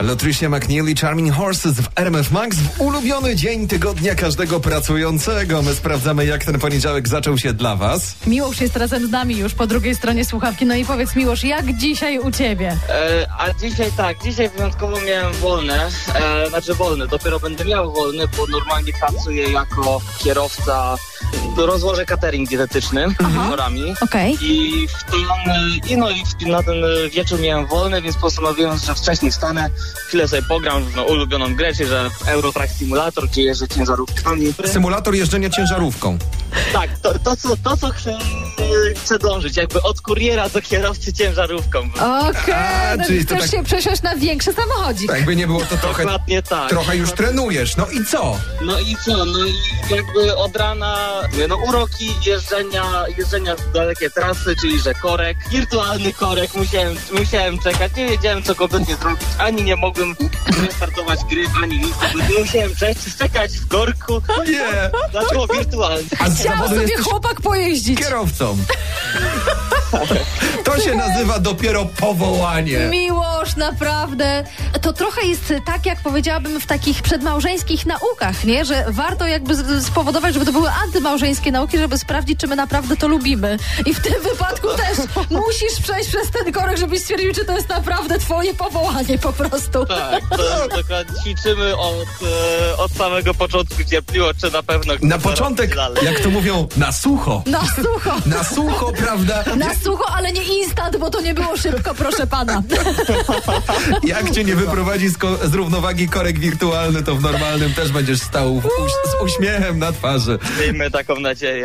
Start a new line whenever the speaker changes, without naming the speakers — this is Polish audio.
Latricia McNeil i Charming Horses w RMF Max w ulubiony dzień tygodnia każdego pracującego. My sprawdzamy, jak ten poniedziałek zaczął się dla Was.
Miłosz jest razem z nami już po drugiej stronie słuchawki. No i powiedz Miłosz, jak dzisiaj u ciebie?
E, a dzisiaj tak, dzisiaj wyjątkowo miałem wolne, e, znaczy wolne, dopiero będę miał wolne, bo normalnie pracuję jako kierowca do rozłożę catering dietetyczny wieczorami.
Okej.
I w ten, e, i no i w, na ten e, wieczór miałem wolne, więc postanowiłem, że wcześniej wstanę, chwilę sobie pogram w no, ulubioną grę, czyli że w Eurotrack Simulator, gdzie jeżdżę ciężarówkami.
Symulator jeżdżenia ciężarówką.
Tak, to, to, co, to co chcę, chcę dążyć, jakby od kuriera do kierowcy ciężarówką.
Okej,
A,
no
czyli
czyli
to
chcesz
tak-
się przesiąść na większy samochodzik.
Tak, by nie było to trochę,
Dokładnie tak.
trochę już trenujesz. No i co?
No i co, no i jakby od rana, no uroki jeżdżenia, jeżdżenia w dalekie trasy, czyli że korek, wirtualny korek, musiałem, musiałem czekać, nie wiedziałem co kompletnie zrobić, ani nie mogłem restartować gry, ani nic, kompletnie. musiałem czekać, czekać w korku,
Nie!
dlaczego wirtualny?
A z
Chciał
zawodu
sobie
jesteś
chłopak pojeździć.
kierowcą. To się nazywa dopiero powołanie.
Miłosz, naprawdę. To trochę jest tak, jak powiedziałabym, w takich przedmałżeńskich naukach, nie? Że warto jakby z- spowodować, żeby to były antymałżeńskie nauki, żeby sprawdzić, czy my naprawdę to lubimy. I w tym wypadku też musisz przejść przez ten korek, żebyś stwierdził, czy to jest naprawdę twoje powołanie po prostu.
Tak, to dokładnie ćwiczymy od, e, od samego początku cierpliło, czy na pewno...
Na początek, jak to mówią, na sucho.
Na sucho.
Na sucho, prawda?
Na sucho, ale nie instant, bo to nie było szybko, proszę pana.
Jak cię nie wyprowadzi z, ko- z równowagi korek wirtualny, to w normalnym też będziesz stał w uś- z uśmiechem na twarzy.
Miejmy taką nadzieję.